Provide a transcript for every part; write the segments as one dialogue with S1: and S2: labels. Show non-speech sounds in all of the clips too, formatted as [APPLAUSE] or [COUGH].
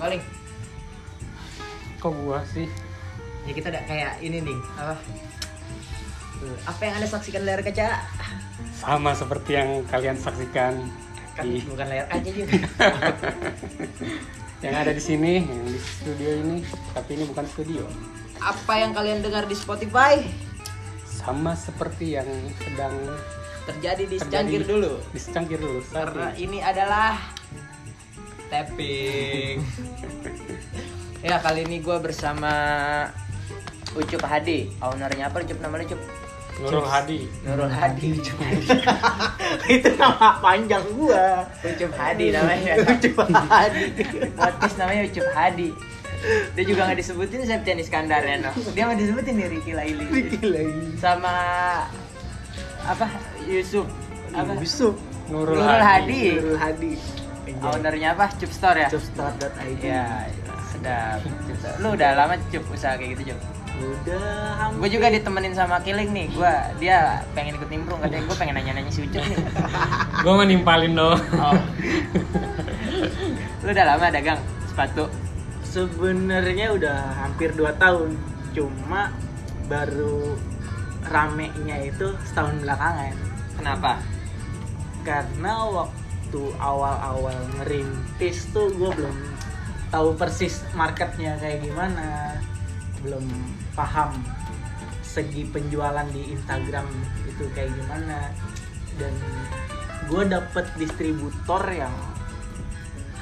S1: paling
S2: kok gua sih
S1: ya kita ada kayak ini nih apa Tuh, apa yang anda saksikan layar kaca
S2: sama seperti yang kalian saksikan
S1: kan
S2: di-
S1: bukan layar kaca juga
S2: yang ada di sini yang di studio ini tapi ini bukan studio
S1: [LAUGHS] apa yang kalian dengar di Spotify
S2: sama seperti yang sedang
S1: terjadi di secangkir
S2: terjadi di-
S1: dulu
S2: di secangkir dulu saat
S1: karena ini
S2: ini.
S1: adalah [LAUGHS] tapping ya kali ini gue bersama Ucup Hadi ownernya apa Ucup namanya Ucup
S2: Nurul Hadi
S1: Nurul Hadi Ucup Hadi [LAUGHS] itu nama panjang gua Ucup Hadi namanya [LAUGHS] Ucup Hadi podcast namanya Ucup Hadi dia juga nggak disebutin Septian Iskandar ya no? dia nggak disebutin nih Ricky Laili
S3: lagi
S1: sama apa Yusuf apa
S3: Yusuf
S2: Nurul,
S1: Nurul Hadi.
S3: Nurul Hadi
S1: Oh, ownernya apa Cup Store ya
S3: Jobstar.id
S1: Ya, sedap. Cup Store. Lu udah lama cup usaha kayak gitu, Cup.
S3: udah hampir
S1: Gue juga ditemenin sama Kiling nih. Gue dia pengen ikut nimbrung katanya gue pengen nanya-nanya si Ucup nih.
S2: gue menimpalin dong
S1: Oh. Lu udah lama dagang sepatu.
S3: sebenarnya udah hampir 2 tahun cuma baru ramenya itu setahun belakangan
S1: Kenapa?
S3: karena waktu awal-awal ngerintis tuh gue belum tahu persis marketnya kayak gimana belum paham segi penjualan di Instagram itu kayak gimana dan gue dapet distributor yang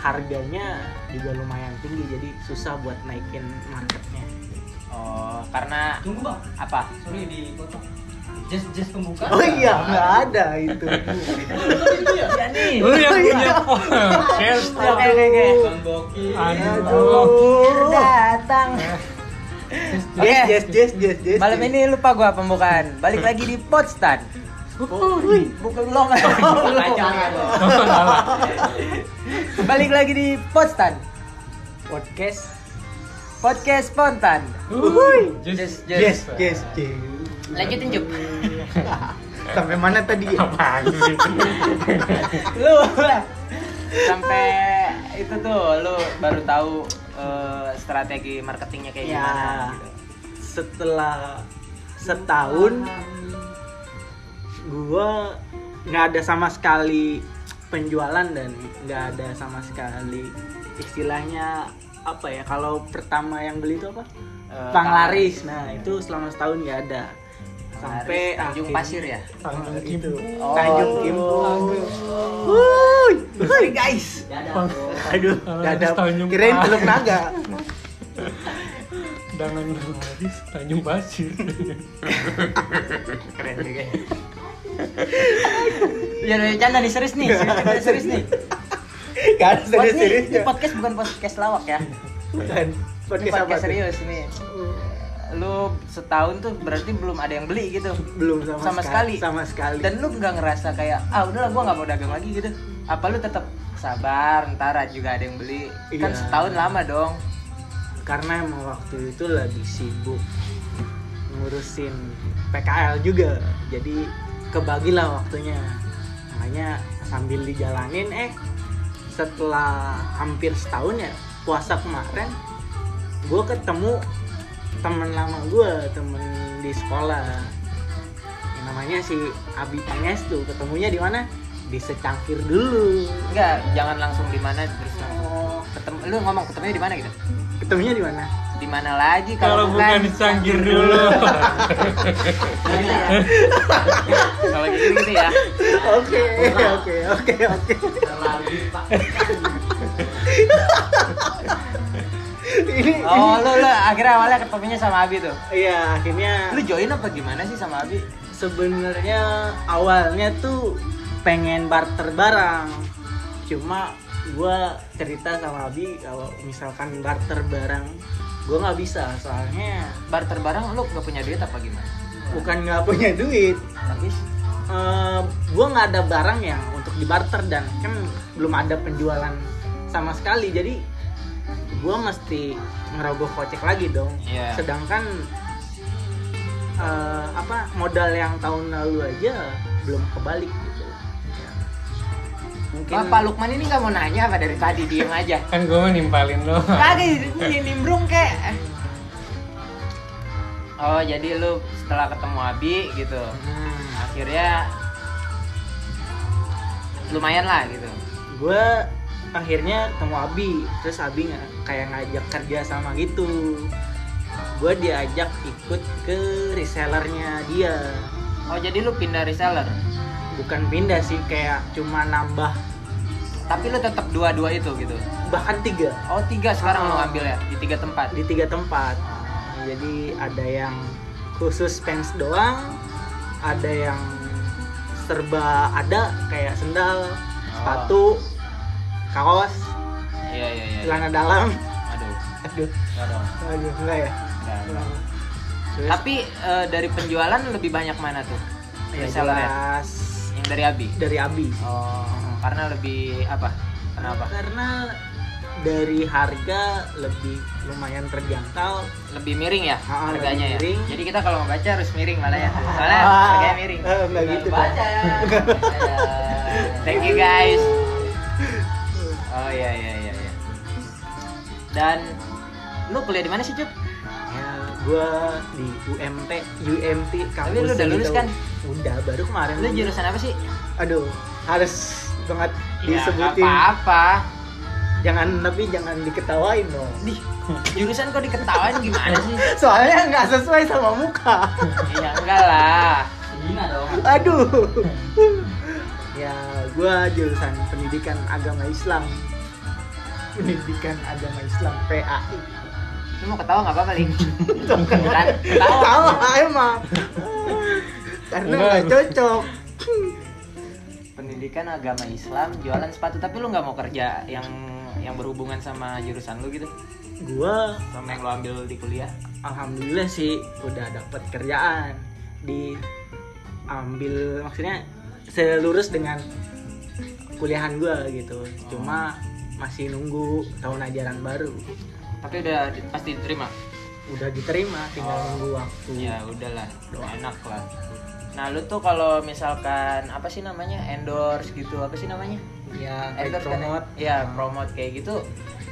S3: harganya juga lumayan tinggi jadi susah buat naikin marketnya
S1: Oh, karena
S4: Tunggu bang,
S1: apa?
S4: sorry dipotong. Just just pembukaan.
S3: oh iya nggak ada itu
S1: Ya nih.
S2: [LAUGHS] lu yang punya podcast
S1: Oke, oke, oke.
S4: Bang Boki.
S2: aduh
S3: aduh
S1: Datang.
S3: yes
S1: Oke.
S3: yes yes yes yes
S1: Iya. Malam ini lupa gua pembukaan. Balik lagi di Podstan. Bukan belum. Balik lagi di Podstan.
S3: podcast
S1: Podcast spontan.
S2: Uhuy.
S1: Just,
S3: Yes,
S1: just.
S3: yes, yes.
S1: Lanjutin Jup.
S3: Sampai mana tadi ya?
S2: apaan sih
S1: lu sampai itu tuh lu baru tahu eh, strategi marketingnya kayak
S3: Ya.
S1: gimana gitu.
S3: Setelah setahun gua nggak ada sama sekali penjualan dan nggak ada sama sekali istilahnya apa ya kalau pertama yang beli itu apa?
S1: Eh,
S3: Pang laris. Nah, itu selama setahun nggak ada. Sampai
S1: Tanjung
S3: akhirnya-
S1: Pasir ya.
S2: Tanjung
S3: itu.
S1: Oh.
S3: Tanjung Kimpul. Wuih, wuih, guys.
S1: Oh,
S3: Aduh,
S2: Kalau
S3: nggak ada.
S2: harus Tanjung
S3: Kirain
S2: Pasir.
S3: Teluk Naga.
S2: Dangan Garis Tanjung Pasir
S1: Keren juga. [LAUGHS] Ya udah jangan nih serius nih, serius nih, serius nih.
S3: Gak ada
S1: Pod nih, ini
S3: serius-seriusnya.
S1: podcast bukan podcast lawak ya.
S3: Bukan. ya.
S1: Ini
S3: Podcast apa
S1: podcast
S3: tuh? Hmm.
S1: serius nih. Lu setahun tuh berarti belum ada yang beli gitu.
S3: Belum sama,
S1: Sama
S3: seka-
S1: sekali.
S3: Sama sekali.
S1: Dan lu nggak ngerasa kayak ah udahlah gua nggak mau dagang lagi gitu. Apa lu tetap sabar, ntar juga ada yang beli. Kan
S3: Iya.
S1: setahun lama dong.
S3: karena emang waktu itu lagi sibuk ngurusin PKL juga. Jadi kebagilah waktunya. Makanya sambil dijalanin eh setelah hampir setahun ya puasa kemarin gue ketemu temen lama gue temen di sekolah yang namanya si Abi Pangestu ketemunya di mana di secangkir dulu Eh,
S1: Enggak, jangan langsung di mana terus langsung. Ketemu, lu ngomong ketemunya di mana gitu?
S3: ketemunya di mana
S1: Di mana lagi
S2: kalau bukan dicangkir dulu
S1: [LAUGHS] Kalau gitu gitu ya.
S3: oke oke oke oke
S4: Terlalu pak.
S3: ini
S1: Oh, lu lu akhirnya awalnya ketemunya sama Abi tuh.
S3: iya akhirnya
S1: Lu join apa gimana sih sama Abi?
S3: sebenarnya awalnya tuh pengen barter barang cuma gua cerita sama Abi kalau misalkan barter barang gua nggak bisa soalnya
S1: Barter barang lu nggak punya duit apa gimana?
S3: bukan nggak punya duit
S1: Habis
S3: Eh, gua nggak ada barang yang untuk dibarter dan kan belum ada penjualan sama sekali jadi gua mesti ngerogoh kocek lagi dong
S1: Iya.
S3: sedangkan eh, apa modal yang tahun lalu aja belum kebalik gitu mungkin
S1: Bapak Lukman ini nggak mau nanya apa dari tadi diem aja.
S2: kan gue mah nimpalin lo
S1: Kagak ini nimbrung kek. Oh jadi lu setelah ketemu Abi gitu,
S3: nah,
S1: akhirnya lumayan lah gitu.
S3: gue akhirnya ketemu Abi terus Abi nggak kayak ngajak kerja sama gitu gue diajak ikut ke resellernya dia
S1: Oh jadi lu pindah reseller,
S3: bukan pindah sih kayak cuma nambah
S1: tapi lu tetap dua-dua itu gitu.
S3: bahkan tiga
S1: Oh tiga sekarang lu
S3: Ah.
S1: ngambil ya di tiga tempat.
S3: di tiga tempat jadi ada yang khusus fans doang ada yang serba ada kayak
S1: Oh.
S3: sendal sepatu kaos
S1: Iya iya iya.
S3: celana dalam
S1: Aduh.
S3: aduh
S1: nggak dong,
S3: aduh enggak ya
S1: nggak, nggak.
S3: Terus,
S1: Tapi eh, dari penjualan lebih banyak mana tuh?
S3: ya
S1: resellernya?
S3: jelas
S1: Yang dari Abi.
S3: dari Abi
S1: Iya, Oh, karena lebih apa? Kenapa?
S3: karena dari harga lebih lumayan terjangkau
S1: Lebih miring ya
S3: Ah, lebih
S1: harganya ya.
S3: miring.
S1: Jadi kita kalau mau baca harus miring malah ya. Soalnya
S3: Ah.
S1: harganya miring.
S3: Eh, nggak gitu
S1: [LAUGHS]
S3: dong.
S1: Baca. Thank you [LAUGHS] guys. Oh iya iya iya iya. Dan lu kuliah di mana sih, Cuk?
S3: ya gue di UMT UMT kampus
S1: lu udah lulus
S3: gitu.
S1: kan?
S3: udah baru kemarin
S1: Lu jurusan apa sih?
S3: aduh harus banget
S1: Ya, nggak
S3: disebutin
S1: apa-apa.
S3: jangan tapi jangan diketawain dong
S1: Dih, jurusan kok diketawain gimana sih?
S3: soalnya nggak sesuai sama muka [LAUGHS]
S1: Iya enggak lah.
S4: Gina dong.
S3: aduh ya gua jurusan pendidikan agama Islam pendidikan agama Islam PAI
S1: Lu mau ketawa nggak apa-apa, Lin? Kan, ketawa.
S3: tahu emang karena nggak cocok
S1: pendidikan agama Islam jualan sepatu tapi lu nggak mau kerja yang yang berhubungan sama jurusan lu gitu
S3: gua
S1: sama yang lu ambil di kuliah
S3: alhamdulillah sih udah dapat kerjaan diambil maksudnya selurus dengan kuliahan gua gitu cuma masih nunggu tahun ajaran baru
S1: tapi udah di- pasti diterima
S3: udah diterima tinggal
S1: Oh.
S3: nunggu waktu
S1: ya udahlah enak lah nah lu tuh kalau misalkan apa sih namanya endorse gitu apa sih namanya
S3: ya kayak
S1: endorse kan ya?
S3: promote Ah.
S1: ya promote kayak gitu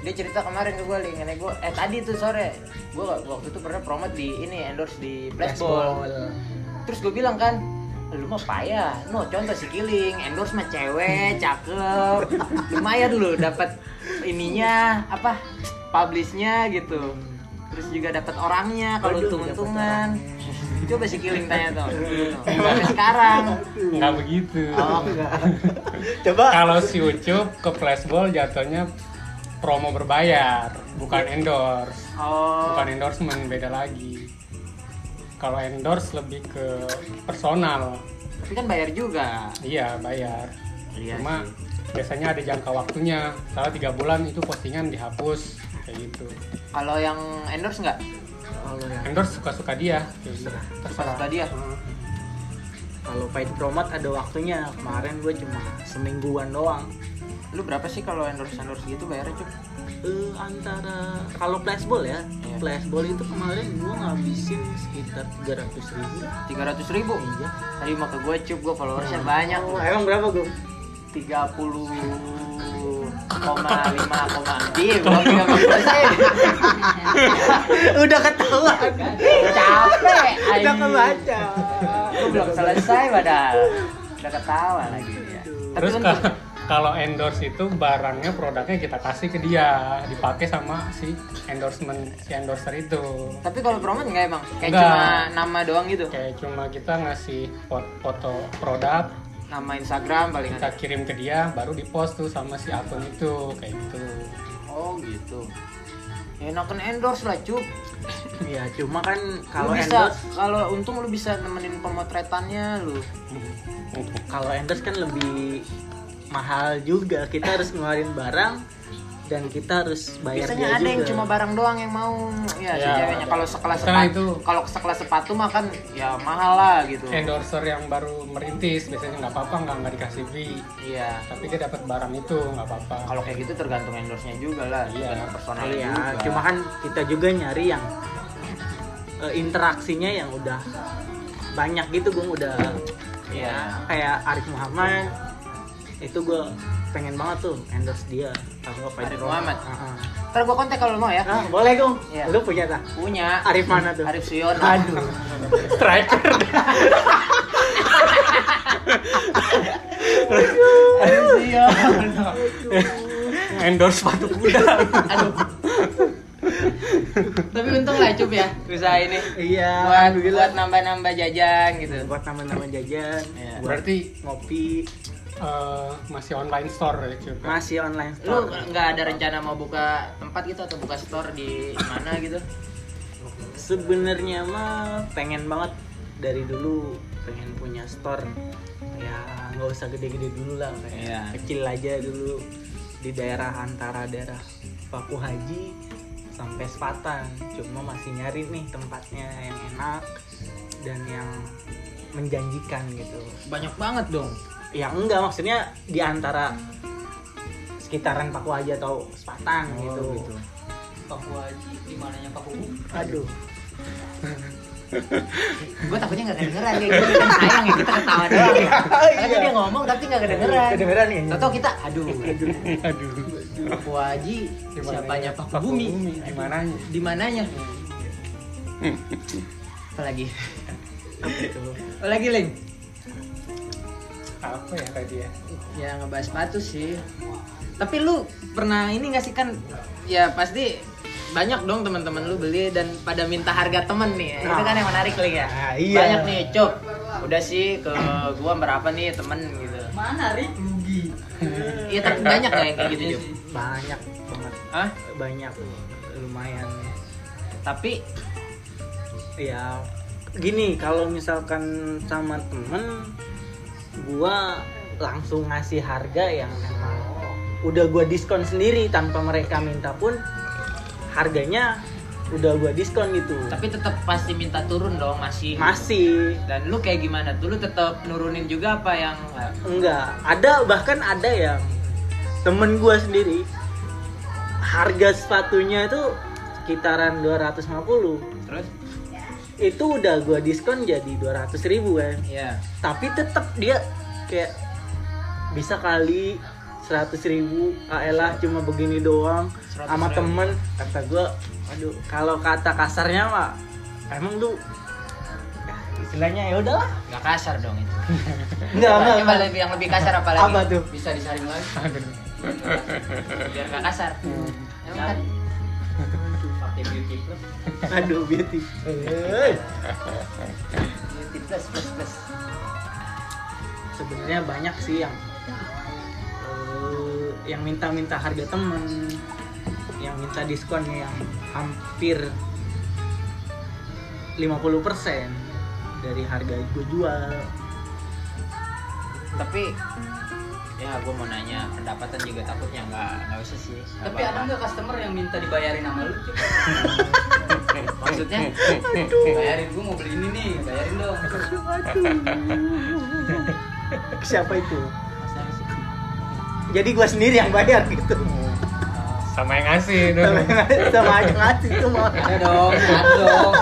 S1: dia cerita kemarin ke gue lingannya gue eh tadi tuh sore gue waktu itu pernah promote di ini endorse di flashball terus gue bilang kan lu mah payah no contoh si Giling endorse mah cewek cakep
S3: [LAUGHS]
S1: lumayan lu dapat ininya apa publishnya gitu terus juga dapat orangnya kalau
S3: Aduh,
S1: untung-untungan
S3: dapet
S1: coba si Giling tanya
S3: [LAUGHS]
S1: tuh sampai sekarang
S2: nggak begitu
S3: [LAUGHS] oh enggak coba
S2: kalau si Ucup ke flashball jatuhnya promo berbayar bukan endorse
S1: oh
S2: bukan endorsement beda lagi kalau endorse lebih ke personal
S1: tapi kan bayar juga
S2: iya bayar
S1: Iya
S2: cuma
S1: sih.
S2: biasanya ada jangka waktunya salah tiga bulan itu postingan dihapus kayak gitu
S1: kalau yang endorse nggak
S3: kalau ya
S2: endorse suka suka dia terserah
S1: suka dia
S3: kalau paid promote ada waktunya kemarin gue cuma semingguan doang
S1: lu berapa sih kalau endorse endorse gitu bayarnya cukup
S3: Eh, antara kalau flashball ya
S1: Iya.
S3: flashball itu kemarin gue ngabisin sekitar 300 ribu
S1: tiga ratus ribu
S3: iya
S1: tadi mau ke gue cup gue followersnya banyak
S3: Oh, emang berapa gue
S1: 30 koma lima koma Ih, belum 30 persen.
S3: [LAUGHS] udah ketahuan
S1: capek ay.
S3: udah kebaca
S1: Aku belum selesai padahal udah ketawa lagi ya tapi
S2: terus
S1: untuk
S2: ka- [LAUGHS] kalau endorse itu barangnya produknya kita kasih ke dia dipakai sama si endorsement si endorser itu
S1: tapi kalau promote nggak emang kayak
S2: Nggak.
S1: cuma nama doang gitu
S2: kayak cuma kita ngasih fo- foto produk
S1: nama Instagram paling
S2: kita kirim ke dia baru dipost tuh sama si akun itu kayak gitu
S1: oh gitu ya enakan endorse lah cup
S3: ya cuma kan
S1: kalau
S3: kalau
S1: bisa
S3: endorse
S1: kalau untung lu bisa nemenin pemotretannya lu
S3: kalau endorse kan lebih mahal juga kita harus ngeluarin barang dan kita harus bayar
S1: Biasanya
S3: dia
S1: ada yang
S3: juga.
S1: cuma barang doang yang mau ya, si
S2: Ya,
S1: ceweknya.
S2: ada.
S1: Kalau sekelas
S2: Karena
S1: sepatu,
S2: itu- Eh.
S1: kalau sekelas sepatu mah kan ya mahal lah gitu.
S2: endorser yang baru merintis biasanya nggak apa-apa nggak nggak dikasih free
S1: Iya.
S2: tapi dia dapat barang itu nggak apa-apa
S1: Kalau [LAUGHS] kayak gitu tergantung endorse-nya juga lah,
S2: Iya.
S1: tergantung personalnya
S3: Iya,
S1: juga.
S3: cuma kan kita juga nyari yang eh, interaksinya yang udah banyak gitu gue udah
S1: Iya.
S3: kayak Arif Muhammad itu gue pengen banget tuh endorse dia sama Pak
S1: Arif
S3: Jero.
S1: Muhammad.
S3: Ah,
S1: Ntar gua kontak kalau lu mau ya.
S3: ah. Ah, boleh dong
S1: Iya.
S3: lu punya tak
S1: Punya.
S3: Arif mana tuh
S1: Arif Suyono.
S3: aduh striker
S1: Arif Suyono.
S2: endorse sepatu kuda
S1: Aduh. [LAUGHS] Tapi untung lah cup ya usaha ini.
S3: iya
S1: Buat
S3: alhamdulillah.
S1: buat nambah-nambah jajan gitu.
S3: buat nama-nama jajan
S1: Iya.
S3: buat
S2: berarti
S3: ngopi
S2: eh, masih online store ya cuy
S3: masih online
S1: Lu
S3: store
S1: nggak ada rencana mau buka tempat gitu atau buka store di mana gitu?
S3: sebenarnya mah pengen banget dari dulu pengen punya store ya nggak usah gede-gede dulu lah kayak
S1: Iya.
S3: kecil aja dulu di daerah antara daerah Paku Haji sampai Sepatan cuma masih nyari nih tempatnya yang enak dan yang menjanjikan gitu
S1: Banyak banget dong.
S3: ya enggak maksudnya di antara sekitaran Paku Haji atau Sepatan gitu.
S4: Paku Haji di mananya Paku Bumi?
S1: [LAUGHS]
S3: aduh
S1: Gue takutnya nggak kedengeran kayak gitu kan sayang ya kita ketawa doang. Ya. Tapi dia ngomong tapi nggak kedengeran.
S3: kedengeran ya
S1: Tahu kita aduh. Aduh.
S2: [LAUGHS] aduh
S1: Paku Haji siapanya Paku
S2: Paku
S1: Bumi?
S2: Bumi, gimana ya?
S1: Di mananya? Apalagi?
S3: gitu.
S1: Apalagi Ling?
S2: apa ya tadi ya
S1: Ya ngebahas sepatu sih. Tapi lu pernah ini nggak sih kan? Ya pasti banyak dong teman-teman lu beli dan pada minta harga temen nih. ya. Itu kan yang menarik Ling ya.
S3: Ah, iya.
S1: Banyak nih, cop. Udah sih ke gua berapa nih temen gitu.
S4: Mana Rik? Rugi
S1: Iya
S4: Iya
S1: tapi banyak nggak yang kayak gitu Jop?
S3: banyak banget
S1: Hah?
S3: banyak lumayan
S1: Tapi
S3: ya gini kalau misalkan sama temen gua langsung ngasih harga yang emang udah gua diskon sendiri tanpa mereka minta pun harganya udah gua diskon gitu
S1: tapi tetap pasti minta turun dong masih.
S3: masih
S1: Dan lu kayak gimana? Tuh lu tetap nurunin juga apa yang nggak?
S3: enggak ada bahkan ada yang temen gua sendiri harga sepatunya itu sekitaran 250
S1: terus?
S3: itu udah gua diskon jadi 200 ribu kan
S1: Iya.
S3: tapi tetap dia kayak bisa kali 100 ribu alah cuma begini doang
S1: 100
S3: sama
S1: ribu.
S3: temen kata gua aduh kalau kata kasarnya mah emang lu ya, istilahnya ya udahlah
S1: Nggak kasar dong itu.
S3: enggak
S1: Coba-
S3: enggak,
S1: coba
S3: enggak.
S1: lebih yang lebih kasar apa lagi?
S3: Apa tuh?
S1: Bisa disaring lagi
S2: aduh
S1: biar nggak kasar.
S4: Hmm.
S1: Emang kan?
S4: Pakai beauty plus
S3: aduh beauty Eh,
S1: Beauty plus plus plus.
S3: sebenarnya banyak sih yang eh, yang minta-minta harga temen yang minta diskonnya yang hampir 50% dari harga gue jual [LAUGHS]
S1: Tapi ya gue mau nanya pendapatan juga takutnya nggak nggak usah sih nggak
S4: Tapi ada
S1: apa-apa.
S4: nggak customer yang minta dibayarin sama lu? Cuk?
S1: [LAUGHS] maksudnya
S4: Bayarin gue mau beli ini nih, bayarin dong
S3: siapa itu
S1: maksudnya sih
S3: jadi gue sendiri yang bayar gitu
S2: sama yang ngasih itu
S3: sama aja ngasih itu mah
S4: Ada dong, ada
S1: [LAUGHS]
S4: dong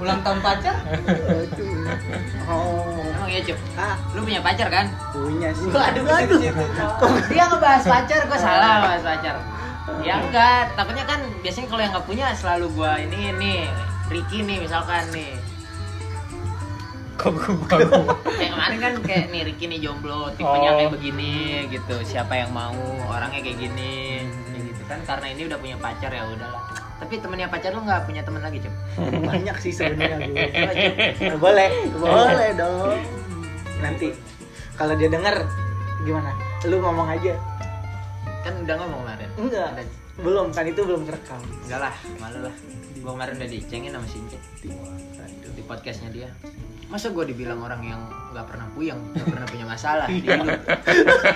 S4: Ulang tahun pacar?
S3: Aduh. oh
S1: emang iya cep
S3: ah
S1: lu punya pacar kan
S3: punya sih
S1: Gua aduh, aduh.
S3: Iya,
S1: dia ngebahas pacar gue salah ngebahas pacar ya enggak takutnya kan biasanya kalau yang nggak punya selalu gua ini ini Ricky nih misalkan nih
S2: kok gue baru
S1: kayak kemarin kan kayak nih Ricky nih jomblo tipenya
S2: Oh.
S1: kayak begini gitu siapa yang mau orangnya kayak gini kayak gitu kan karena ini udah punya pacar ya udahlah tapi temennya pacar lu nggak punya temen lagi cep
S3: banyak sih sebenarnya gue Nah, boleh boleh dong nanti kalau dia dengar gimana lu ngomong aja
S1: kan udah ngomong kemarin
S3: enggak
S1: Ada-
S3: belum kan itu belum terekam
S1: enggak lah malu lah gua kemarin udah dicengin sama Since di podcastnya dia masa gue dibilang orang yang nggak pernah puyeng nggak pernah punya masalah di hidup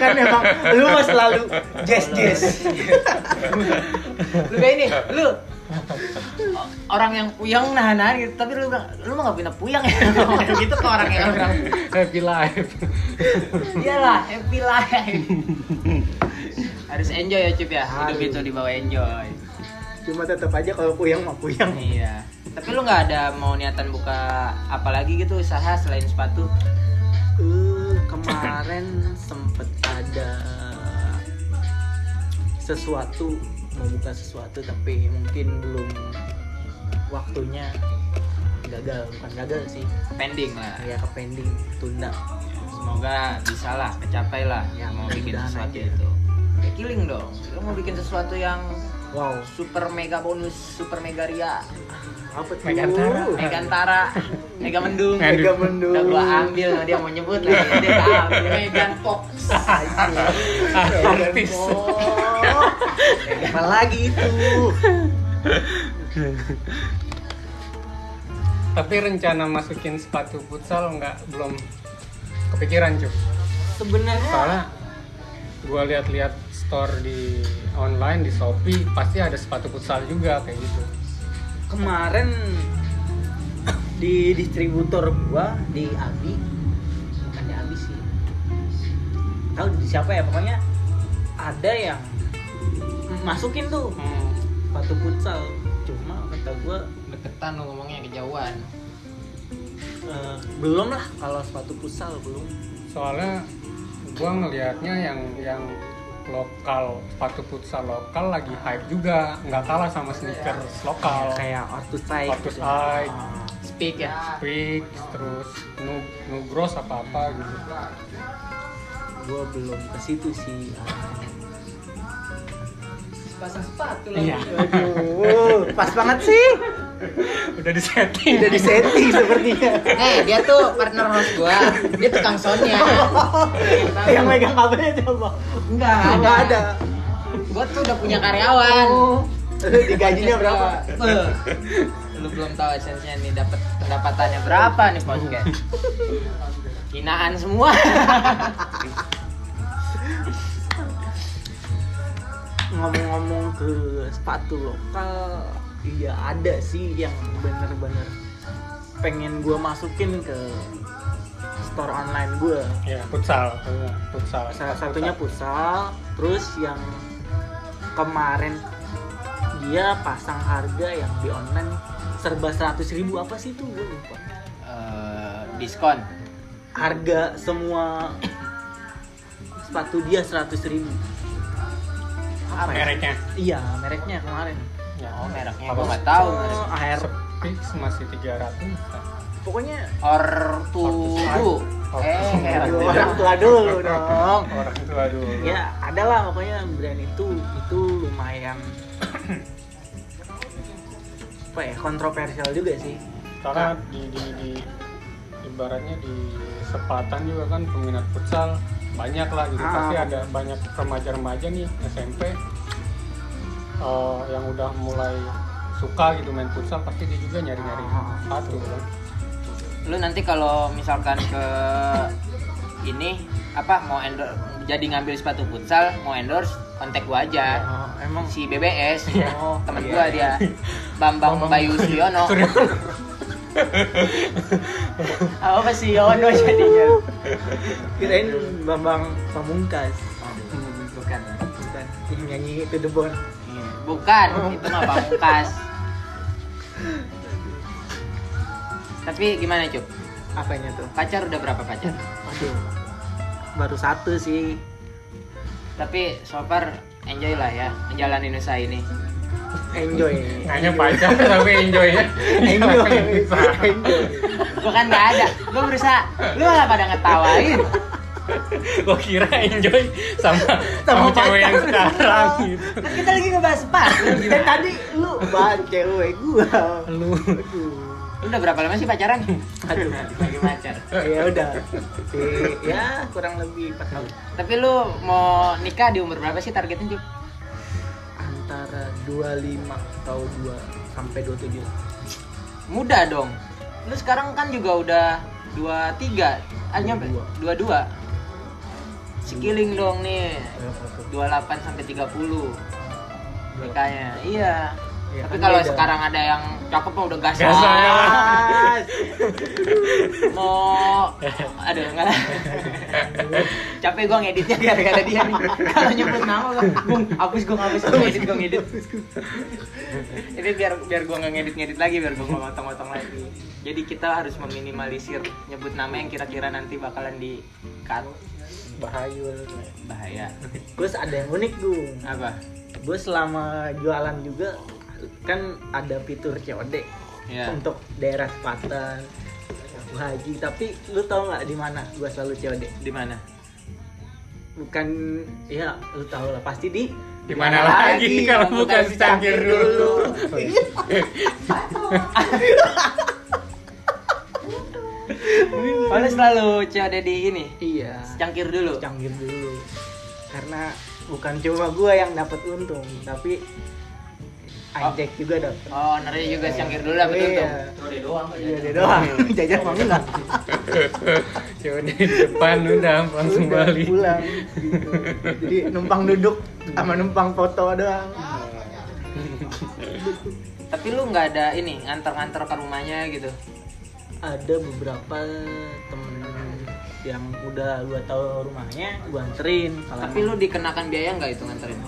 S3: kan emang lu mah selalu jazz jazz
S1: lu kayak ini lu o- orang yang puyeng nahan nahan gitu tapi lu bilang lu mah gak punya puyeng ya Kayak gitu ke orang yang bilang
S2: happy life
S1: iyalah happy life harus enjoy ya cup ya hidup
S3: Harus.
S1: itu dibawa enjoy
S3: cuma tetap aja kalau puyeng mah puyeng
S1: iya tapi lu nggak ada mau niatan buka apa lagi gitu usaha selain sepatu
S3: Eh, kemarin sempet ada sesuatu mau buka sesuatu tapi mungkin belum waktunya gagal bukan gagal sih
S1: pending lah
S3: ya ke pending tunda
S1: semoga bisa lah kecapai lah
S3: Ya,
S1: mau bikin
S3: mudah-mudahan
S1: sesuatu
S3: aja.
S1: itu ya killing dong lo mau bikin sesuatu yang
S3: wow
S1: super mega bonus super mega ria
S3: apa tuh
S2: Megantara.
S1: mega antara mega mendung
S2: Aduh.
S3: Mega mendung.
S1: udah gua ambil dia mau nyebut lagi dia udah ambil mega fox
S2: Ya artis
S3: apa lagi itu
S2: tapi rencana masukin sepatu futsal nggak belum kepikiran cuy
S3: sebenarnya
S2: soalnya gue lihat-lihat store di online di shopee pasti ada sepatu futsal juga kayak gitu
S3: kemarin di distributor gua di Abi bukan di Abi sih tahu di siapa ya pokoknya ada yang masukin tuh
S2: Hmm.
S3: sepatu futsal cuma kata gua
S4: Deketan lo ngomongnya kejauhan.
S3: eh, belum lah kalau sepatu futsal belum
S2: soalnya gue ngelihatnya yang yang lokal sepatu futsal lokal lagi hype juga nggak kalah sama sneakers lokal
S3: kayak Ah, Ortus Type
S2: Ortus Type.
S1: speak ya
S2: Speak, terus nu nugros apa apa gitu
S3: gua belum ke situ sih
S4: Pasang sepatu lagi.
S2: iya
S3: Aduh, pas banget sih
S2: udah disetting
S3: udah disetting sepertinya [LAUGHS]
S4: Eh, dia tuh partner host gua. Dia tukang soundnya.
S3: [LAUGHS] yang megang kabelnya coba
S4: Enggak,
S3: nggak ada
S4: Gua tuh udah punya karyawan.
S3: Oh, [LAUGHS] lu digajinya berapa
S1: Iya. Eh.
S4: Beuh. Lu belum tahu esensinya nih dapat pendapatannya berapa.
S1: berapa nih podcast hinaan semua
S3: ngomong-ngomong ke sepatu lokal iya ada sih yang bener-bener pengen gua masukin ke store online gua
S2: ya futsal futsal
S3: salah satunya futsal terus yang kemarin dia pasang harga yang di online serba 100.000 ribu apa sih itu gue lupa
S1: Eh, diskon
S3: harga semua sepatu dia 100.000 ribu apa ya?
S2: mereknya
S3: iya mereknya kemarin
S2: ya
S1: oh mereknya
S2: Apa?
S1: gua nggak tahu
S3: Oh, AR
S2: Speak masih 300
S3: pokoknya
S1: ortubu eh
S3: aduh,
S1: heran.
S3: orang tua dulu dong
S2: orang tua dulu
S3: ya adalah pokoknya brand itu itu lumayan [CLEARS THROAT] apa ya kontroversial juga sih
S2: karena di, di, di ibaratnya di sepatan juga kan peminat futsal banyak lah gitu
S3: Ah.
S2: pasti ada banyak remaja-remaja nih SMP eh, yang udah mulai suka gitu main futsal pasti dia juga nyari-nyari
S3: Ah.
S2: sepatu kan
S1: lu nanti kalau misalkan ke ini apa mau endorse jadi ngambil sepatu futsal mau endorse kontak gua aja
S3: oh, emang
S1: Eh, si BBS
S3: Oh,
S1: temen
S3: iya,
S1: gua dia Bambang
S2: Bambang
S1: Bayu Suryono
S2: Suryo.
S1: apa sih Yono jadinya
S3: kirain bambang pamungkas
S1: bukan
S3: bukan yang nyanyi itu the bone
S1: Iya, bukan itu mah pamungkas tapi gimana cup
S3: apanya tuh
S1: pacar udah berapa pacar
S3: aduh baru satu sih
S1: tapi so far enjoy lah ya menjalani nusa ini
S3: enjoy
S1: [LAUGHS]
S2: kayaknya pacar tapi enjoy ya
S3: enjoy enjoy
S1: gua kan nggak ada gua berusaha lu malah pada ngetawain
S2: gue kira enjoy sama sama, cewek yang sekarang gitu
S1: kan kita lagi ngebahas sepatu
S3: dan Kan tadi lu bahan cewek gua
S2: lu
S3: aduh
S1: Lu udah berapa lama sih pacaran
S3: Aduh.
S1: lagi pacar
S2: Eh.
S3: ya udah Tapi, ya kurang lebih 4 tahun
S1: tapi lu mau nikah di umur berapa sih targetnya Cuk?
S3: antara 25 atau 2 sampai 27
S1: muda dong lu sekarang kan juga udah dua tiga ah nyampe dua dua sekiling dong nih 28 sampai 30 nikahnya iya
S3: Iya,
S1: Tapi
S3: kan
S1: kalau
S3: beda.
S1: sekarang ada yang cakep mah udah gas.
S2: Gas aja lah.
S1: ya. Gas. Mau aduh enggak lah. Capek gua ngeditnya gara-gara dia nih. Kalau nyebut nama gua, Bung, hapus gua hapus gua ngedit gua ngedit. Jadi biar biar gua nggak ngedit-ngedit lagi biar gua nggak motong-motong lagi. Jadi kita harus meminimalisir nyebut nama yang kira-kira nanti bakalan di cut
S3: bahayul
S1: bahaya.
S3: terus ada yang unik gue
S1: Apa?
S3: gue selama jualan juga kan ada fitur COD
S1: Ya.
S2: Iya.
S3: untuk daerah Selatan Abu Haji tapi lu tau nggak di mana gue selalu COD
S1: Di mana?
S3: bukan ya lu tau lah pasti di
S2: Di mana lagi kalau bukan si cangkir dulu.
S1: Paling selalu COD di ini.
S3: iya
S1: Cangkir dulu.
S3: canggih dulu karena bukan cuma gue yang dapat untung tapi Ajek juga dapat
S1: Oh, ownernya juga cangkir dulu lah betul tuh.
S4: Code doang kok
S3: [LAUGHS] Iya,
S4: jajan.
S3: dia doang. Jajan mau nggak?
S2: Coba di depan udah langsung
S3: Udah,
S2: balik.
S3: Pulang. gitu. Jadi numpang duduk sama numpang foto doang.
S1: Tapi lu nggak ada ini nganter-nganter ke rumahnya gitu.
S3: Ada beberapa temen yang udah gua tahu rumahnya, gua anterin. Kalau
S1: Tapi lu dikenakan biaya nggak itu nganterin?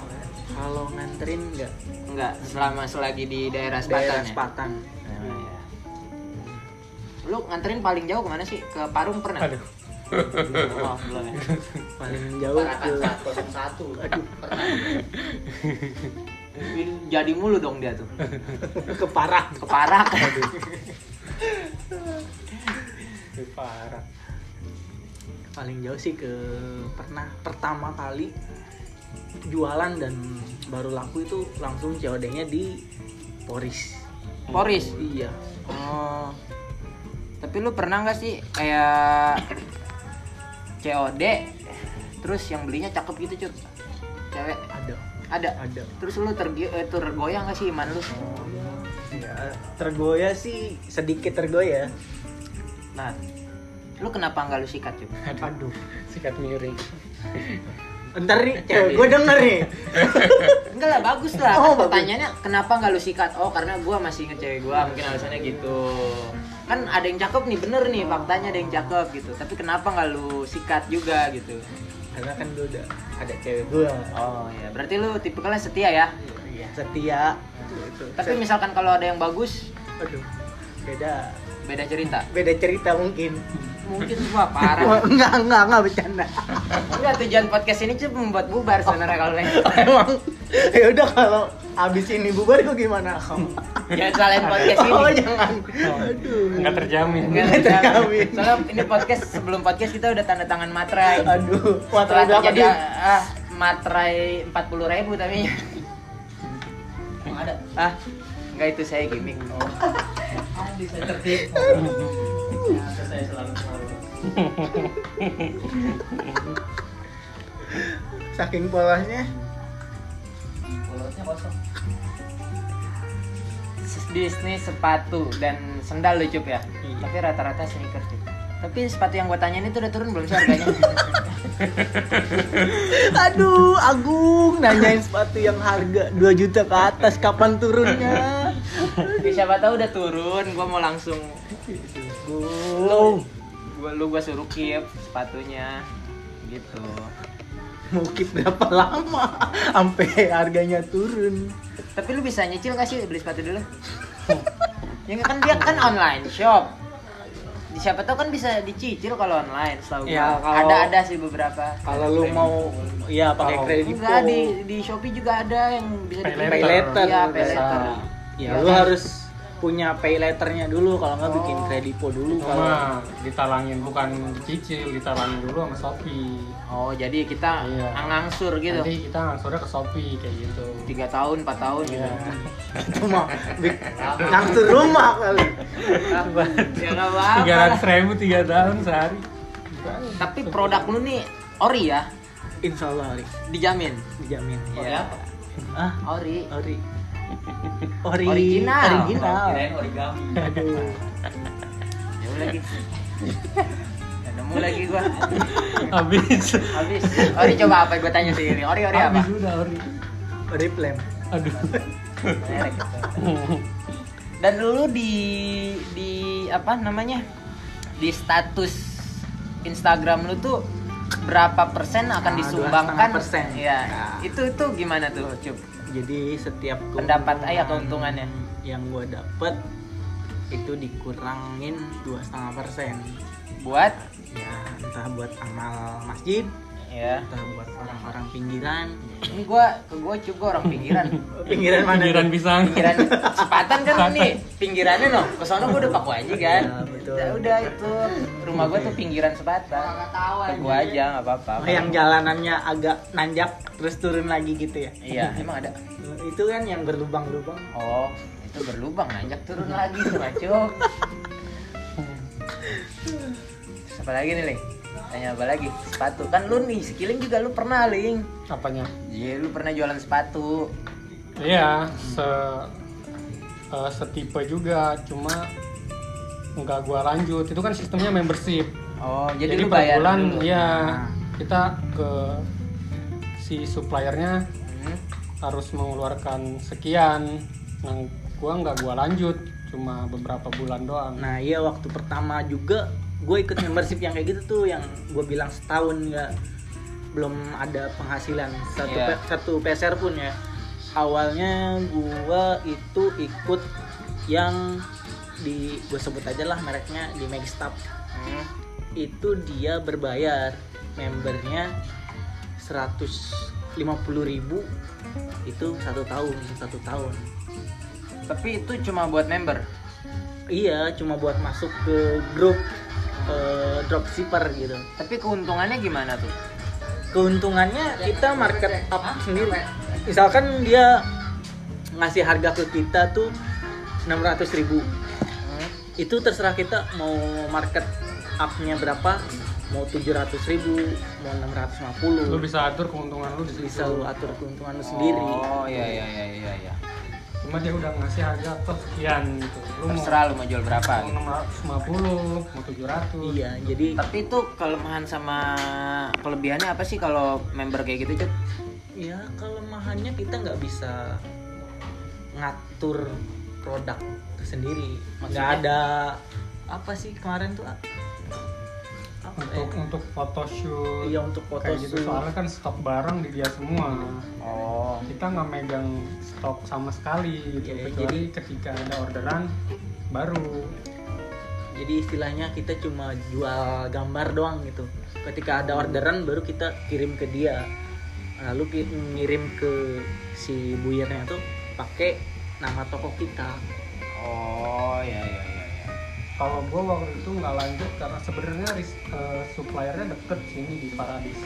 S3: kalau nganterin nggak
S1: Nggak, selama selagi di daerah Selatan ya?
S3: daerah Sepatan.
S1: Oh, iya. Lu nganterin paling jauh kemana sih? Ke Parung pernah?
S2: Aduh.
S1: [LAUGHS] Oh, belum ya.
S3: Paling jauh ke
S4: Parakan 401.
S1: Mungkin Jadi mulu dong dia tuh.
S3: ke Parah.
S1: Ke Parak.
S2: Ih, Parah.
S3: Paling jauh sih ke pernah pertama kali jualan dan baru laku itu langsung COD-nya di Poris.
S1: Poris.
S3: Iya,
S1: Oh. Tapi lu pernah nggak sih kayak COD terus yang belinya cakep gitu, Cut? Cewek
S3: ada.
S1: ada.
S3: Ada.
S1: Terus lu tergi eh, tergoyah nggak sih iman lu?
S3: Ya, tergoyah sih sedikit tergoyah.
S1: Nah, lu kenapa nggak lu sikat, Cut?
S3: Aduh.
S2: Sikat miring.
S3: Ntar nih, cewek gue denger [LAUGHS] nih.
S1: Enggak lah, bagus lah.
S3: Oh,
S1: Kan
S3: bagus.
S1: pertanyaannya kenapa nggak lu sikat? Oh, karena gua masih inget cewek gua,
S3: Iya.
S1: mungkin alasannya gitu. Kan ada yang cakep nih, bener nih faktanya ada yang cakep gitu. Tapi kenapa nggak lu sikat juga gitu?
S3: Karena kan gue udah ada cewek gue.
S1: Oh ya, berarti lu tipikalnya setia ya.
S3: Iya, setia. Gitu.
S1: Tapi misalkan kalau ada yang bagus,
S3: aduh. Beda
S1: beda cerita.
S3: beda cerita mungkin.
S1: Mungkin
S3: [LAUGHS]
S1: semua
S3: Wah,
S1: parah.
S3: enggak, enggak, enggak bercanda.
S1: Enggak tujuan podcast ini cuma membuat bubar sebenarnya kalau
S3: [LAUGHS]
S1: yang
S3: Emang ya udah kalau abis ini bubar gue gimana?
S1: jangan salin Ya, podcast ini.
S3: Oh, jangan. Aduh.
S2: Enggak terjamin.
S1: Enggak,
S3: Nggak
S1: jangan.
S3: terjamin.
S1: Soalnya ini podcast sebelum podcast kita udah tanda tangan materai.
S3: Aduh,
S1: Setelah
S3: materi berapa
S1: terjadi
S3: dia?
S1: ah, materai 40 ribu tapi [LAUGHS]
S4: Emang ada.
S1: ah enggak itu saya gimmick.
S4: Ada saya [LAUGHS] tertipu. Ya, saya selalu selalu.
S3: Saking polanya
S4: Polosnya kosong.
S1: Bisnis sepatu dan sendal lucu ya. Tapi rata-rata sneakers sih. Tapi sepatu yang gue tanyain itu udah turun belum sih harganya?
S3: Aduh, Agung nanyain sepatu yang harga 2 juta ke atas kapan turunnya?
S1: Ya, siapa tahu udah turun, gua mau langsung
S3: Belum.
S1: gua lu gua suruh keep sepatunya gitu.
S3: Mau keep berapa lama sampai harganya turun?
S1: Tapi lu bisa nyicil gak sih beli sepatu dulu? ya nggak, kan dia kan online shop. Di Siapa tahu kan bisa dicicil kalau online, setahu gua.
S3: Ya, kalau-
S1: ada ada sih beberapa.
S3: Kalau lu mau ya pakai
S2: Kalau-
S3: kredit
S1: Enggak di di Shopee juga ada yang bisa
S2: Pay
S1: dibeli.
S3: pay letter.
S1: Iya, pay
S3: Bisa.
S1: letter.
S3: Ya,
S1: Iya
S3: lu
S1: kan?
S3: harus punya pay letternya dulu kalau nggak bikin
S1: Oh.
S3: kredipo dulu kalau
S2: Cuma ditalangin bukan dicicil, ditalangin dulu sama Shopee.
S1: Oh, jadi kita
S2: Iya.
S1: ngangsur gitu.
S2: Nanti kita langsurnya ke Shopee kayak gitu.
S1: tiga tahun, 4 tahun
S2: Iya.
S1: gitu. [LAUGHS]
S3: cuma bi- langsung rumah kali.
S1: Apa? ya nggak apa-apa.
S2: Iya. Tiga
S1: lah.
S2: ratus ribu tiga tahun sehari.
S1: Tapi produk lu nih ori ya,
S3: Insya Allah Ori,
S1: dijamin.
S3: dijamin.
S1: Ori apa?
S3: Ah,
S1: Ori.
S3: Ori. Ori
S1: Original.
S3: Original.
S4: Kirain origami.
S3: Aduh.
S1: Ya udah lagi. Ya nemu lagi gua.
S2: Habis.
S1: Habis. Ori coba apa gua tanya sih ini. Ori ori apa?
S2: Habis udah ori.
S3: Ori plan.
S2: Aduh.
S1: Merek. [LAUGHS] Dan dulu di di apa namanya? Di status Instagram lu tuh berapa persen akan
S3: Ah,
S1: disumbangkan?
S3: 2,5%.
S1: Iya.
S3: Ah.
S1: Itu itu gimana tuh, Cup?
S3: jadi setiap
S1: Pendapat
S3: keuntungan
S1: ayah keuntungannya.
S3: yang gue dapet itu dikurangin dua setengah persen
S1: Buat
S3: ya entah buat amal masjid
S1: ya.
S3: entah buat orang-orang pinggiran
S1: Ini gua ke gua Cup gua orang pinggiran.
S3: pinggiran mana
S2: Pinggiran pisang.
S1: Pinggiran Sepatan kan ini pinggirannya no. Ke sono gua udah paku aja kan.
S3: Ya, betul.
S1: Ya udah itu rumah gua tuh pinggiran Sepatan. Ke gua aja nggak apa-apa.
S3: Oh, yang jalanannya agak nanjak terus turun lagi gitu ya
S1: Iya, emang ada.
S3: [LAUGHS] itu kan yang berlubang-lubang
S1: Oh, itu berlubang nanjak turun lagi tuh ngacok. Terus apa lagi nih, Ling? Tanya apa lagi? Sepatu. Kan lu nih, sekiling juga lu pernah, Ling.
S2: Apanya?
S1: Iya, lu pernah jualan sepatu.
S2: Iya, se eh, setipe juga, cuma nggak gua lanjut. Itu kan sistemnya membership.
S1: Oh, jadi,
S2: Jadi,
S1: lu
S2: per
S1: bayar
S2: bulan
S1: dulu.
S2: ya
S3: Nah.
S2: kita ke si suppliernya
S1: Hmm.
S2: harus mengeluarkan sekian. Yang gua nggak gua lanjut, cuma beberapa bulan doang.
S3: Nah iya waktu pertama juga gue ikut membership yang kayak gitu tuh yang gue bilang setahun nggak belum ada penghasilan satu
S1: Iya.
S3: pe- satu peser pun ya. Awalnya gue itu ikut yang di gue sebut aja lah mereknya di Megstab
S1: Hmm.
S3: itu dia berbayar membernya 150.000 itu satu tahun satu tahun
S1: Tapi itu cuma buat member.
S3: Iya, cuma buat masuk ke grup eh, dropshipper gitu.
S1: Tapi keuntungannya gimana tuh?
S3: Keuntungannya kita market up sendiri. Misalkan dia ngasih harga ke kita tuh 600.000
S1: Hmm.
S3: Itu terserah kita mau market up-nya berapa, mau 700.000 mau 650.
S2: Lu bisa atur keuntungan lu di situ.
S3: bisa lu atur keuntungan lu sendiri.
S1: Oh, iya iya iya iya iya.
S2: Cuma dia udah ngasih harga tuh sekian gitu. Lu mau
S1: Terserah lu mau jual berapa gitu.
S2: mau 650, mau 700.
S3: Iya, jadi
S1: Tapi itu kelemahan sama kelebihannya apa sih kalau member kayak gitu, Cep?
S3: ya kelemahannya kita nggak bisa ngatur produk itu sendiri nggak
S1: Maksudnya?
S3: ada apa sih kemarin tuh A? apa
S2: Untuk
S3: ya?
S2: untuk photoshoot.
S3: iya untuk foto
S2: kayak gitu
S3: shoot.
S2: soalnya kan stok barang di dia semua
S1: Oh,
S2: kita nggak megang stok sama sekali gitu
S3: Iya,
S2: kecuali ketika ada orderan baru
S3: jadi istilahnya kita cuma jual gambar doang gitu ketika ada orderan baru kita kirim ke dia lalu ki- ngirim ke si buyernya tuh pakai nama toko kita
S1: oh
S2: iya,
S1: ya ya ya. ya.
S2: kalau gue waktu itu nggak lanjut karena sebenarnya ris- eh, suppliernya deket sini di Paradis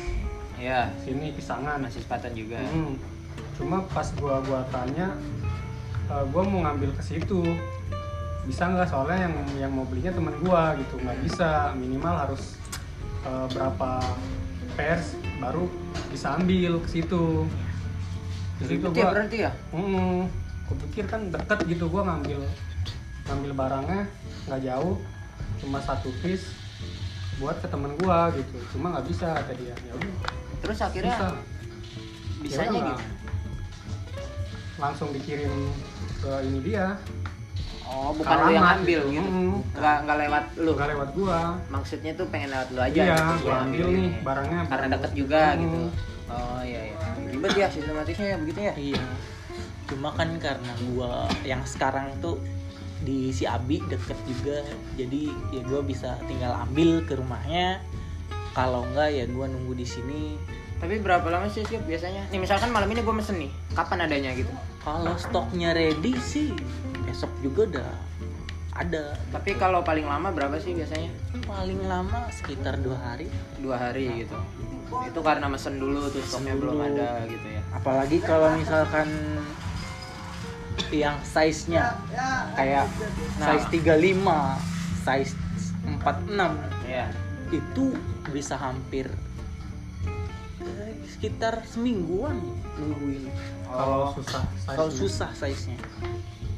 S1: Ya,
S2: sini pisangan
S1: masih sepatan juga.
S2: Hmm. cuma pas gue gua tanya gue mau ngambil ke situ bisa nggak soalnya yang yang mau belinya teman gue gitu nggak bisa minimal harus eh, berapa pers baru bisa ambil ke situ di situ
S1: Ribet ya
S2: gue
S1: berarti ya?
S2: Hmm, gue pikir kan deket gitu gue ngambil ngambil barangnya nggak jauh cuma satu piece buat ke temen gue gitu cuma nggak bisa kata dia ya udah
S1: Terus akhirnya gitu?
S2: bisa
S1: bisanya
S2: Ya udah,
S1: gimana?
S2: langsung dikirim ke ini dia
S1: Oh, bukan lu yang
S2: Alamat
S1: ambil
S2: gitu.
S1: gitu.
S2: Mm.
S1: Nggak nggak lewat lu.
S2: nggak lewat gua
S1: Maksudnya tuh pengen lewat lu aja.
S2: iya
S1: gitu,
S2: gua
S1: yang
S2: ambil
S1: ambilin.
S2: nih barangnya
S1: Karena deket juga
S2: Mm.
S1: gitu. Oh iya iya. Ribet ya sistematisnya ya begitu ya?
S3: Iya. Cuma kan karena gua yang sekarang tuh di si Abi deket juga, jadi ya gua bisa tinggal ambil ke rumahnya. Kalau enggak ya gua nunggu di sini.
S1: Tapi berapa lama sih siap biasanya? Nih misalkan malam ini gue mesen nih, kapan adanya gitu?
S3: Kalau stoknya ready sih besok juga udah ada.
S1: Tapi kalau paling lama berapa sih biasanya?
S3: Paling lama sekitar dua hari.
S1: Dua hari gitu. Itu karena mesen dulu tuh stoknya
S3: Mesen
S1: belum
S3: dulu.
S1: ada gitu ya.
S3: Apalagi kalau misalkan yang size-nya kayak
S1: Nah.
S3: size 35, size 46,
S1: Iya.
S3: itu bisa hampir eh, sekitar semingguan nungguin
S2: kalau susah size
S3: kalau
S2: nya.
S3: susah size nya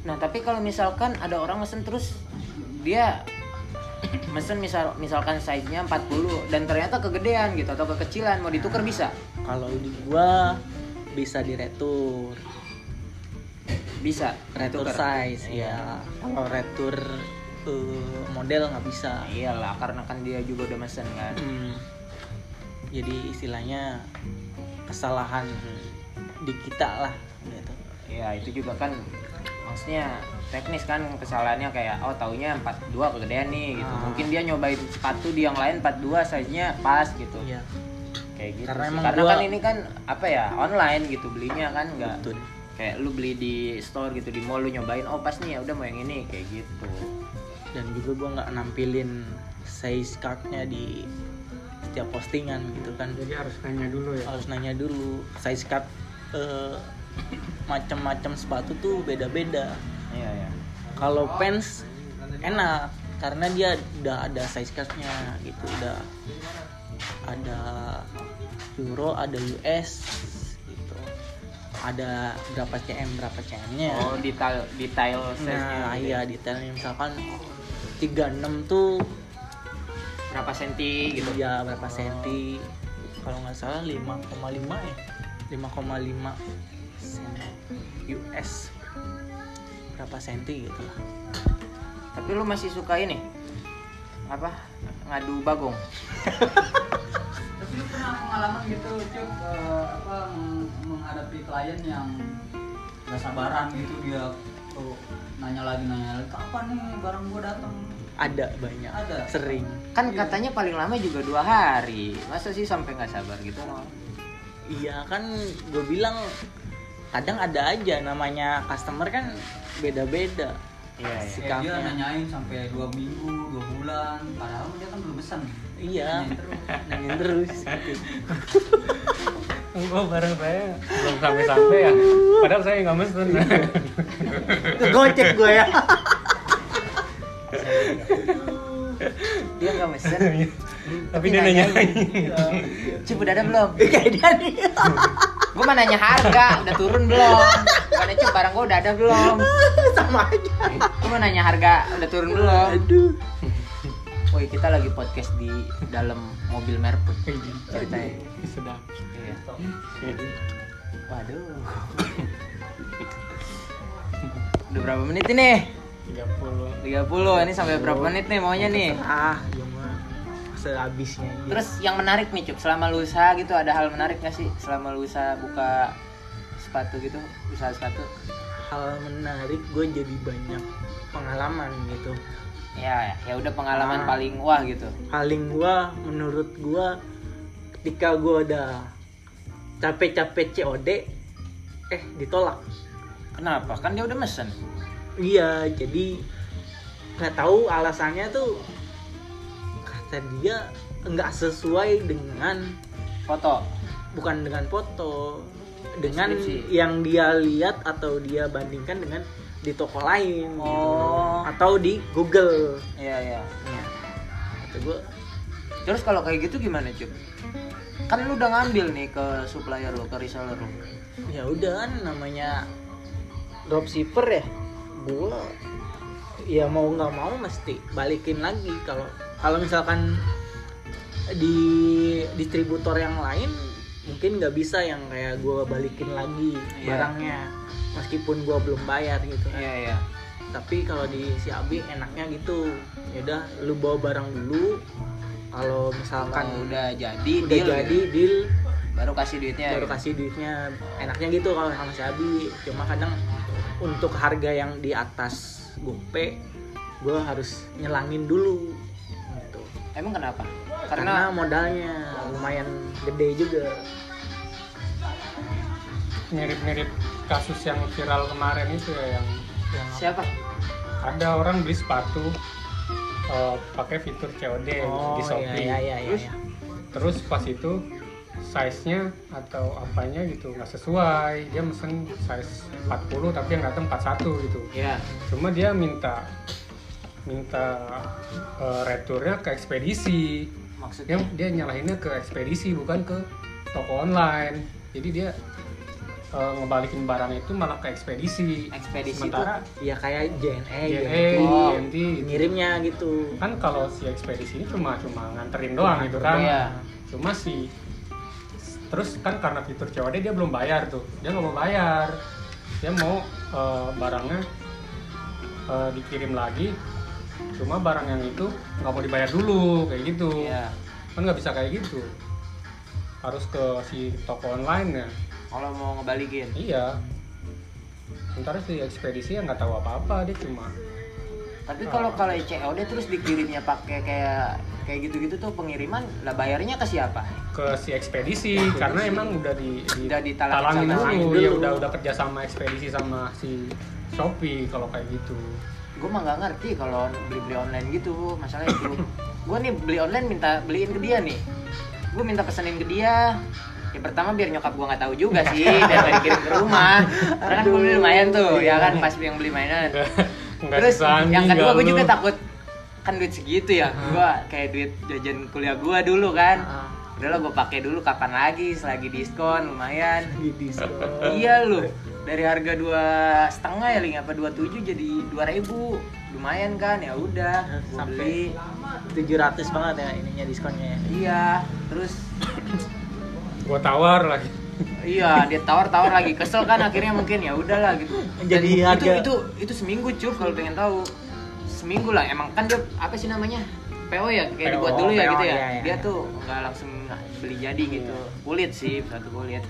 S1: Nah tapi kalau misalkan ada orang mesen terus dia mesen misal misalkan size nya 40 dan ternyata kegedean gitu atau kekecilan mau ditukar bisa
S3: kalau di gua bisa diretur
S1: bisa
S3: retur
S1: tuker.
S3: size
S1: Iya.
S3: ya kalau retur eh, model nggak bisa
S1: Nah, iyalah karena kan dia juga udah mesen kan
S3: Hmm. jadi istilahnya kesalahan di kita lah gitu
S1: ya itu juga kan maksudnya teknis kan kesalahannya kayak oh taunya 42 kegedean nih gitu
S3: Ah.
S1: mungkin dia nyobain sepatu di yang lain 42 size nya pas gitu
S3: Iya,
S1: kayak gitu
S3: Karena
S1: sih.
S3: emang
S1: karena
S3: gua-
S1: kan ini kan apa ya online gitu belinya kan nggak
S3: betul
S1: kayak lu beli di store gitu di mall lu nyobain oh pas nih ya udah mau yang ini kayak gitu
S3: dan juga gua nggak nampilin size cardnya di setiap postingan gitu kan
S2: Jadi harus nanya dulu ya.
S3: harus nanya dulu size card eh, macam-macam sepatu tuh beda-beda
S1: iya ya
S3: kalau pants enak karena dia udah ada size cardnya gitu udah ada euro ada US gitu ada berapa cm berapa cm nya
S1: oh detail detail gitu ya. size nya
S3: Iya. nah iya detailnya misalkan 36 tuh
S1: berapa senti gitu
S3: ya berapa senti kalau nggak salah 5,5 ya 5,5 senti US berapa senti gitu lah
S1: tapi lu masih suka ini apa ngadu bagong
S4: Tapi lu pernah pengalaman gitu, Cuk, eh, apa meng- menghadapi klien yang gak sabaran gitu dia tuh nanya lagi nanya lagi kapan nih barang gua datang?
S3: ada banyak
S4: Ada.
S3: sering
S1: kan
S4: Iya.
S1: katanya paling lama juga dua hari masa sih sampai nggak sabar gitu
S3: Iya kan gue bilang kadang ada aja namanya customer kan beda-beda.
S1: iya iya.
S4: [LAUGHS] Kayak dia
S3: Sikapnya.
S4: nanyain sampai dua minggu, dua bulan, padahal dia kan belum pesan.
S3: Iya,
S4: Nanyain terus.
S3: nanyain terus. gitu.
S2: Enggak Oh, barang saya belum sampai-sampai ya. Padahal saya nggak mesen.
S1: gocek gue ya [LAUGHS] dia nggak mesen
S2: Tapi dia nanya. Iya.
S1: Cipu dada belum? [LAUGHS] Kayak dia nih Gue mah nanya harga, udah turun belum? Bukannya cip barang gue udah ada belum? [LAUGHS] Sama aja Gue mau nanya harga, udah turun belum?
S3: Aduh.
S1: [LAUGHS] Woi kita lagi podcast di dalam mobil merput Ceritanya
S2: Sedap.
S1: Iya. Waduh Udah berapa menit ini?
S2: 30
S1: 30, ini sampai berapa menit nih maunya nih?
S3: Ah, ya mah sehabisnya. aja.
S1: Terus yang menarik nih Cup, selama lu usaha gitu ada hal menarik gak sih? Selama lu usaha buka sepatu gitu, usaha sepatu
S3: hal menarik gue jadi banyak pengalaman gitu.
S1: ya ya udah pengalaman
S3: Ah.
S1: paling wah gitu
S3: Paling gue menurut gue ketika gue udah capek-capek COD eh ditolak.
S1: kenapa kan dia udah mesen
S3: Iya, jadi nggak tahu alasannya tuh kata dia nggak sesuai dengan
S1: foto
S3: bukan dengan foto dengan
S1: Deskripsi.
S3: yang dia lihat atau dia bandingkan dengan di toko lain gitu.
S1: Oh.
S3: atau di Google. Nah,
S1: iya iya
S3: Kata gue
S1: terus kalau kayak gitu gimana cup kan lu udah ngambil nih ke supplier lo ke reseller lo
S3: ya udah kan namanya dropshipper ya, gue ya mau nggak mau mesti balikin lagi kalau kalau misalkan di distributor yang lain mungkin nggak bisa yang kayak gue balikin lagi
S1: Iya.
S3: barangnya meskipun gue belum bayar gitu kan.
S1: iya iya
S3: tapi kalau di si Abi enaknya gitu yaudah lu bawa barang dulu kalau misalkan
S1: kan udah jadi
S3: udah
S1: deal ya,
S3: jadi deal
S1: baru kasih duitnya
S3: baru
S1: gitu.
S3: kasih duitnya enaknya gitu kalau sama si Abi cuma kadang untuk harga yang di atas gope gue harus nyelangin dulu gitu
S1: emang kenapa karena,
S3: karena, modalnya lumayan gede juga
S2: mirip-mirip kasus yang viral kemarin itu ya yang yang
S1: siapa
S2: ada orang beli sepatu eh, pakai fitur COD di
S3: iya
S2: Shopee.
S3: iya iya iya
S2: Terus terus pas itu size-nya atau apanya gitu nggak sesuai. Dia mesen size 40 tapi yang datang 41 gitu.
S1: ya
S2: Cuma dia minta minta eh, returnya ke ekspedisi.
S1: maksudnya
S2: Dia dia nyalahinnya ke ekspedisi bukan ke toko online. Jadi dia eh, ngebalikin barang itu malah ke ekspedisi.
S1: ekspedisi itu
S2: Sementara
S3: ya kayak JNE
S2: JNE,
S3: gitu
S1: Oh.
S2: JNT,
S3: ngirimnya gitu
S2: kan kalau si ekspedisi ini cuma cuma nganterin doang gitu kan
S1: Iya.
S2: cuma si terus kan karena fitur COD dia belum bayar tuh dia nggak mau bayar dia mau eh, barangnya eh, dikirim lagi cuma barang yang itu nggak mau dibayar dulu kayak gitu
S3: Iya.
S2: kan nggak bisa kayak gitu harus ke si toko online ya
S1: Kalau mau ngebalikin.
S2: iya sementara si ekspedisi yang nggak tahu apa-apa dia cuma
S1: Tapi kalau kalau COD terus dikirimnya pakai kayak kayak gitu-gitu tuh pengiriman lah bayarnya ke siapa?
S2: ke si ekspedisi karena emang udah di, di
S1: Udah ditalangin
S2: talangin
S1: sama
S2: dulu,
S3: dulu.
S2: ya udah udah kerja sama ekspedisi sama si Shopee kalau kayak
S1: [LAUGHS]
S2: gitu
S1: Gue mah nggak ngerti kalau beli-beli online gitu masalahnya itu. gue nih beli online minta beliin ke dia nih. Gue minta pesenin ke dia. Ya pertama biar nyokap gue nggak tahu juga sih dan nggak dikirim ke rumah. Karena kan gue beli lumayan tuh, ya kan pas yang beli mainan.
S2: Nggak
S1: Terus
S2: sesanding,
S1: yang kedua
S2: nggak
S1: gue juga
S2: lu. Ah.
S1: takut kan duit segitu ya. Gua kayak duit jajan kuliah gue dulu kan.
S2: Ah.
S1: Udah lah gue pakai dulu kapan lagi selagi diskon lumayan.
S3: di diskon
S2: Eh.
S1: Iya lu dari harga dua setengah ya ling apa dua tujuh jadi dua ribu lumayan kan ya udah gua
S3: Sampai-
S1: beli
S3: 700 banget ya ininya diskonnya ya.
S1: iya terus
S2: gua tawar lagi
S1: iya dia tawar tawar lagi kesel kan akhirnya mungkin ya udahlah gitu itu,
S3: Jadi harga-
S1: itu itu seminggu cup kalau pengen tahu seminggu lah emang kan dia apa sih namanya PO ya kayak
S2: PO,
S1: dibuat dulu ya
S3: PO,
S1: gitu ya
S3: iya, iya,
S1: dia
S3: iya.
S1: tuh nggak langsung beli jadi gitu kulit sih satu kulit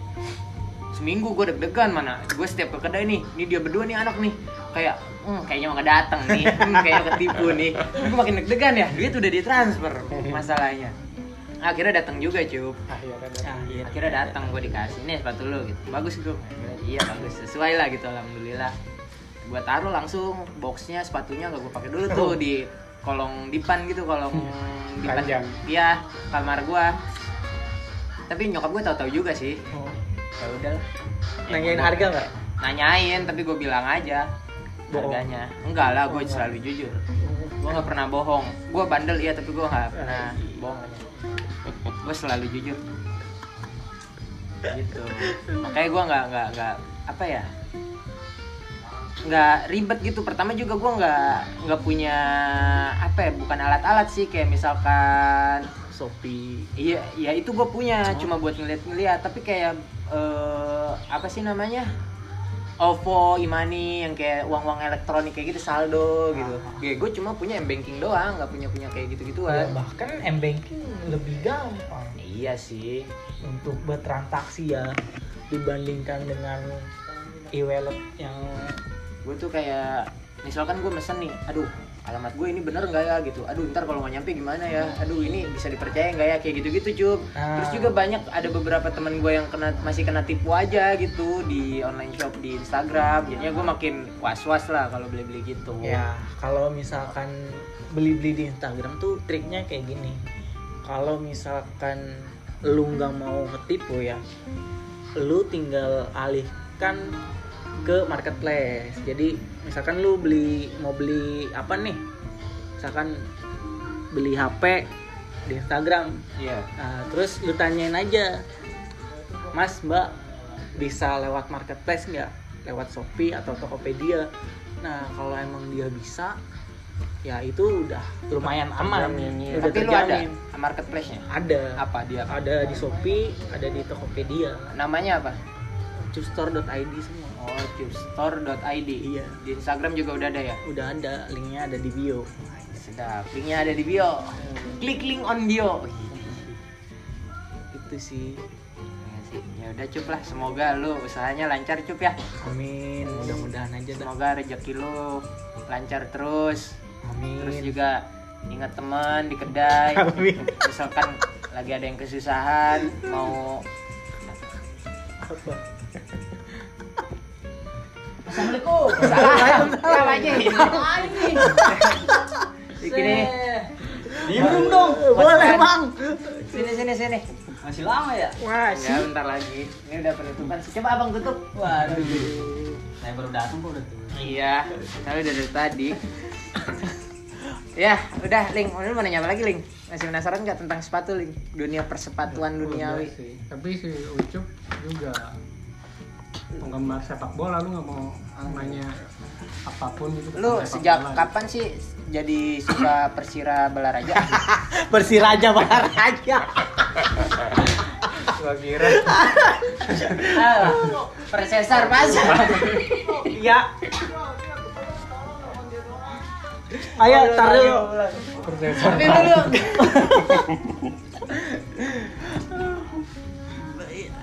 S1: seminggu gue deg-degan mana gue setiap ke kedai nih ini dia berdua nih anak nih kayak hmm, kayaknya mau datang nih [LAUGHS] hmm, kayaknya ketipu nih gue makin deg-degan ya duit udah
S3: [LAUGHS]
S1: ditransfer masalahnya akhirnya datang juga cup
S2: akhirnya
S3: Ah, iya.
S1: akhirnya datang gue dikasih nih sepatu lu gitu bagus gue iya bagus sesuai lah gitu alhamdulillah gue taruh langsung boxnya sepatunya gak gue pakai dulu tuh di kolong dipan gitu
S3: [LAUGHS]
S1: kolong dipan
S2: Panjang.
S1: iya kamar gue tapi nyokap gue tahu-tahu juga sih ya udahlah
S3: Oh. nanyain harga nggak
S1: nanyain tapi gue bilang aja
S3: Bohong. Oh,
S1: harganya enggak lah gue selalu jujur gue nggak pernah bohong gue bandel iya tapi gue
S3: Eh.
S1: nggak pernah bohong gue selalu jujur gitu makanya gue nggak nggak nggak apa ya nggak ribet gitu pertama juga gue nggak nggak punya apa ya bukan alat-alat sih kayak misalkan
S3: Shopee
S1: Iya, ya itu gue punya, cuma buat ngeliat-ngeliat. Tapi kayak eh, apa sih namanya? OVO, Imani, yang kayak uang-uang elektronik kayak gitu saldo gitu. Ya gue cuma punya m banking doang, nggak punya punya kayak gitu
S3: Ya,
S1: gituan.
S3: bahkan m banking lebih gampang
S1: Iya sih.
S3: untuk bertransaksi ya dibandingkan dengan e-wallet yang
S1: Gue tuh kayak misalkan gue mesen nih, aduh alamat gue ini bener nggak ya gitu aduh ntar kalau nggak nyampe gimana ya aduh ini bisa dipercaya nggak ya kayak gitu gitu cup
S3: Nah.
S1: terus juga banyak ada beberapa teman gue yang kena masih kena tipu aja gitu di online shop di Instagram jadinya gue makin was was lah kalau beli beli gitu
S3: ya kalau misalkan beli-beli di Instagram tuh triknya kayak gini kalau misalkan lu nggak mau ketipu ya lu tinggal alihkan ke marketplace jadi misalkan lu beli mau beli apa nih misalkan beli HP di Instagram
S1: Iya.
S3: Nah, terus lu tanyain aja, Mas Mbak bisa lewat marketplace nggak? Lewat Shopee atau Tokopedia? Nah kalau emang dia bisa, ya itu udah lumayan aman.
S2: Terjamin, iya.
S3: Udah
S1: tapi lu ada
S3: terjamin.
S1: marketplace nya
S3: Ada.
S1: apa dia
S3: Ada di Shopee, ada di Tokopedia,
S1: namanya apa
S3: Custore.id semua.
S1: oh cupstore.id
S3: Iya.
S1: di Instagram juga udah ada ya
S3: Udah ada, linknya ada di bio.
S1: sedap linknya ada di bio klik link on bio Oh, iya.
S3: Itu sih.
S1: ya udah cup lah semoga lu usahanya lancar cup ya
S3: Iya, Amin. Mudah-mudahan aja dah.
S1: semoga rezeki lu lancar terus terus
S3: Amin.
S1: juga ingat teman di kedai
S3: Amin.
S1: misalkan lagi ada yang kesusahan mau
S3: Apa?
S1: assalamualaikum salam salam aja sini
S4: Diam dong.
S1: Boleh,
S3: Bang.
S1: sini sini sini
S4: Masih lama ya?
S3: Wah,
S1: ya bentar lagi ini udah penutupan coba abang tutup
S4: Waduh. Saya baru datang kok udah tuh.
S1: iya tapi udah dari tadi ya udah Ling lu mau nanya apa lagi Ling masih penasaran nggak tentang sepatu Ling dunia persepatuan
S2: Udah
S1: duniawi
S2: sih. tapi si Ucup juga penggemar sepak bola lu nggak mau nanya apapun gitu
S1: lu
S2: tentang sepak
S1: sejak
S2: bola.
S1: kapan sih jadi suka persira belaraja
S3: Bersiraja [LAUGHS] Maharaja.
S2: gua kira
S1: Ah, persesar pas
S3: Iya. Ayo, tar dulu.
S1: [LAUGHS]
S3: Ini dulu.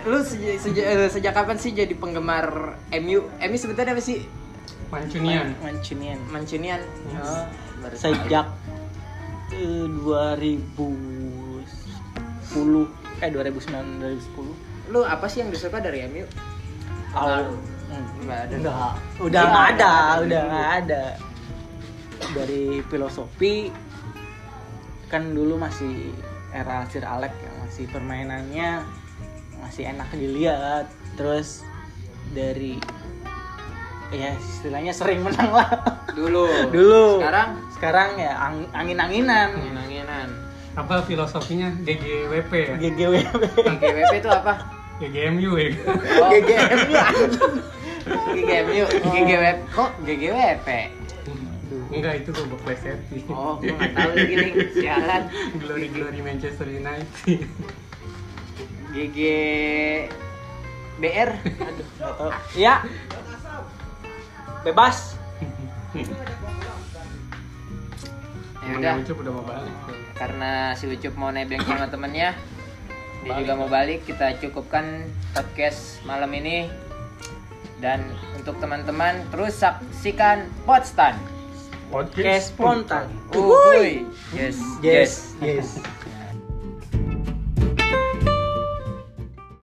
S1: Lu sejak, sejak, eh, sejak kapan sih jadi penggemar MU? MU sebenarnya apa sih?
S2: Mancunian.
S3: Mancunian.
S1: Mancunian. Oh,
S2: Yes.
S1: Baru tahu.
S3: Sejak eh, 2010 eh 2009 2010
S1: Lu apa sih yang disuka dari MU?
S3: awal
S1: Enggak ada.
S3: Enggak, udah nggak ada, udah nggak ada. Dari filosofi kan dulu masih era Sir Alex yang masih permainannya masih enak dilihat. Terus dari ya istilahnya sering menang lah. [LAUGHS]
S1: Dulu.
S3: dulu.
S1: Sekarang
S3: sekarang ya ang- angin-anginan
S1: angin-anginan.
S2: Apa filosofinya GGWP ya?
S3: Iya. GGWB.
S1: GWP itu
S3: [LAUGHS]
S1: apa?
S2: GGMU ya.
S1: Oh,
S3: GGM ya.
S1: GGM
S3: Oh.
S1: yuk. GGWP. Kok GGWP?
S2: Enggak itu gue play safety.
S1: Oh, gue nggak tahu lagi nih. Sialan.
S2: Glory glory Manchester United.
S1: GG BR. Aduh.
S3: Nggak tahu. Ya. Bebas.
S1: Ya udah.
S2: Ucup udah mau balik.
S1: karena si Ucup mau nebeng sama temennya dia juga mau balik kita cukupkan podcast malam ini dan untuk teman-teman terus saksikan Potstan
S3: Kayak spontan.
S1: Uhuy. yes yes
S3: Yes.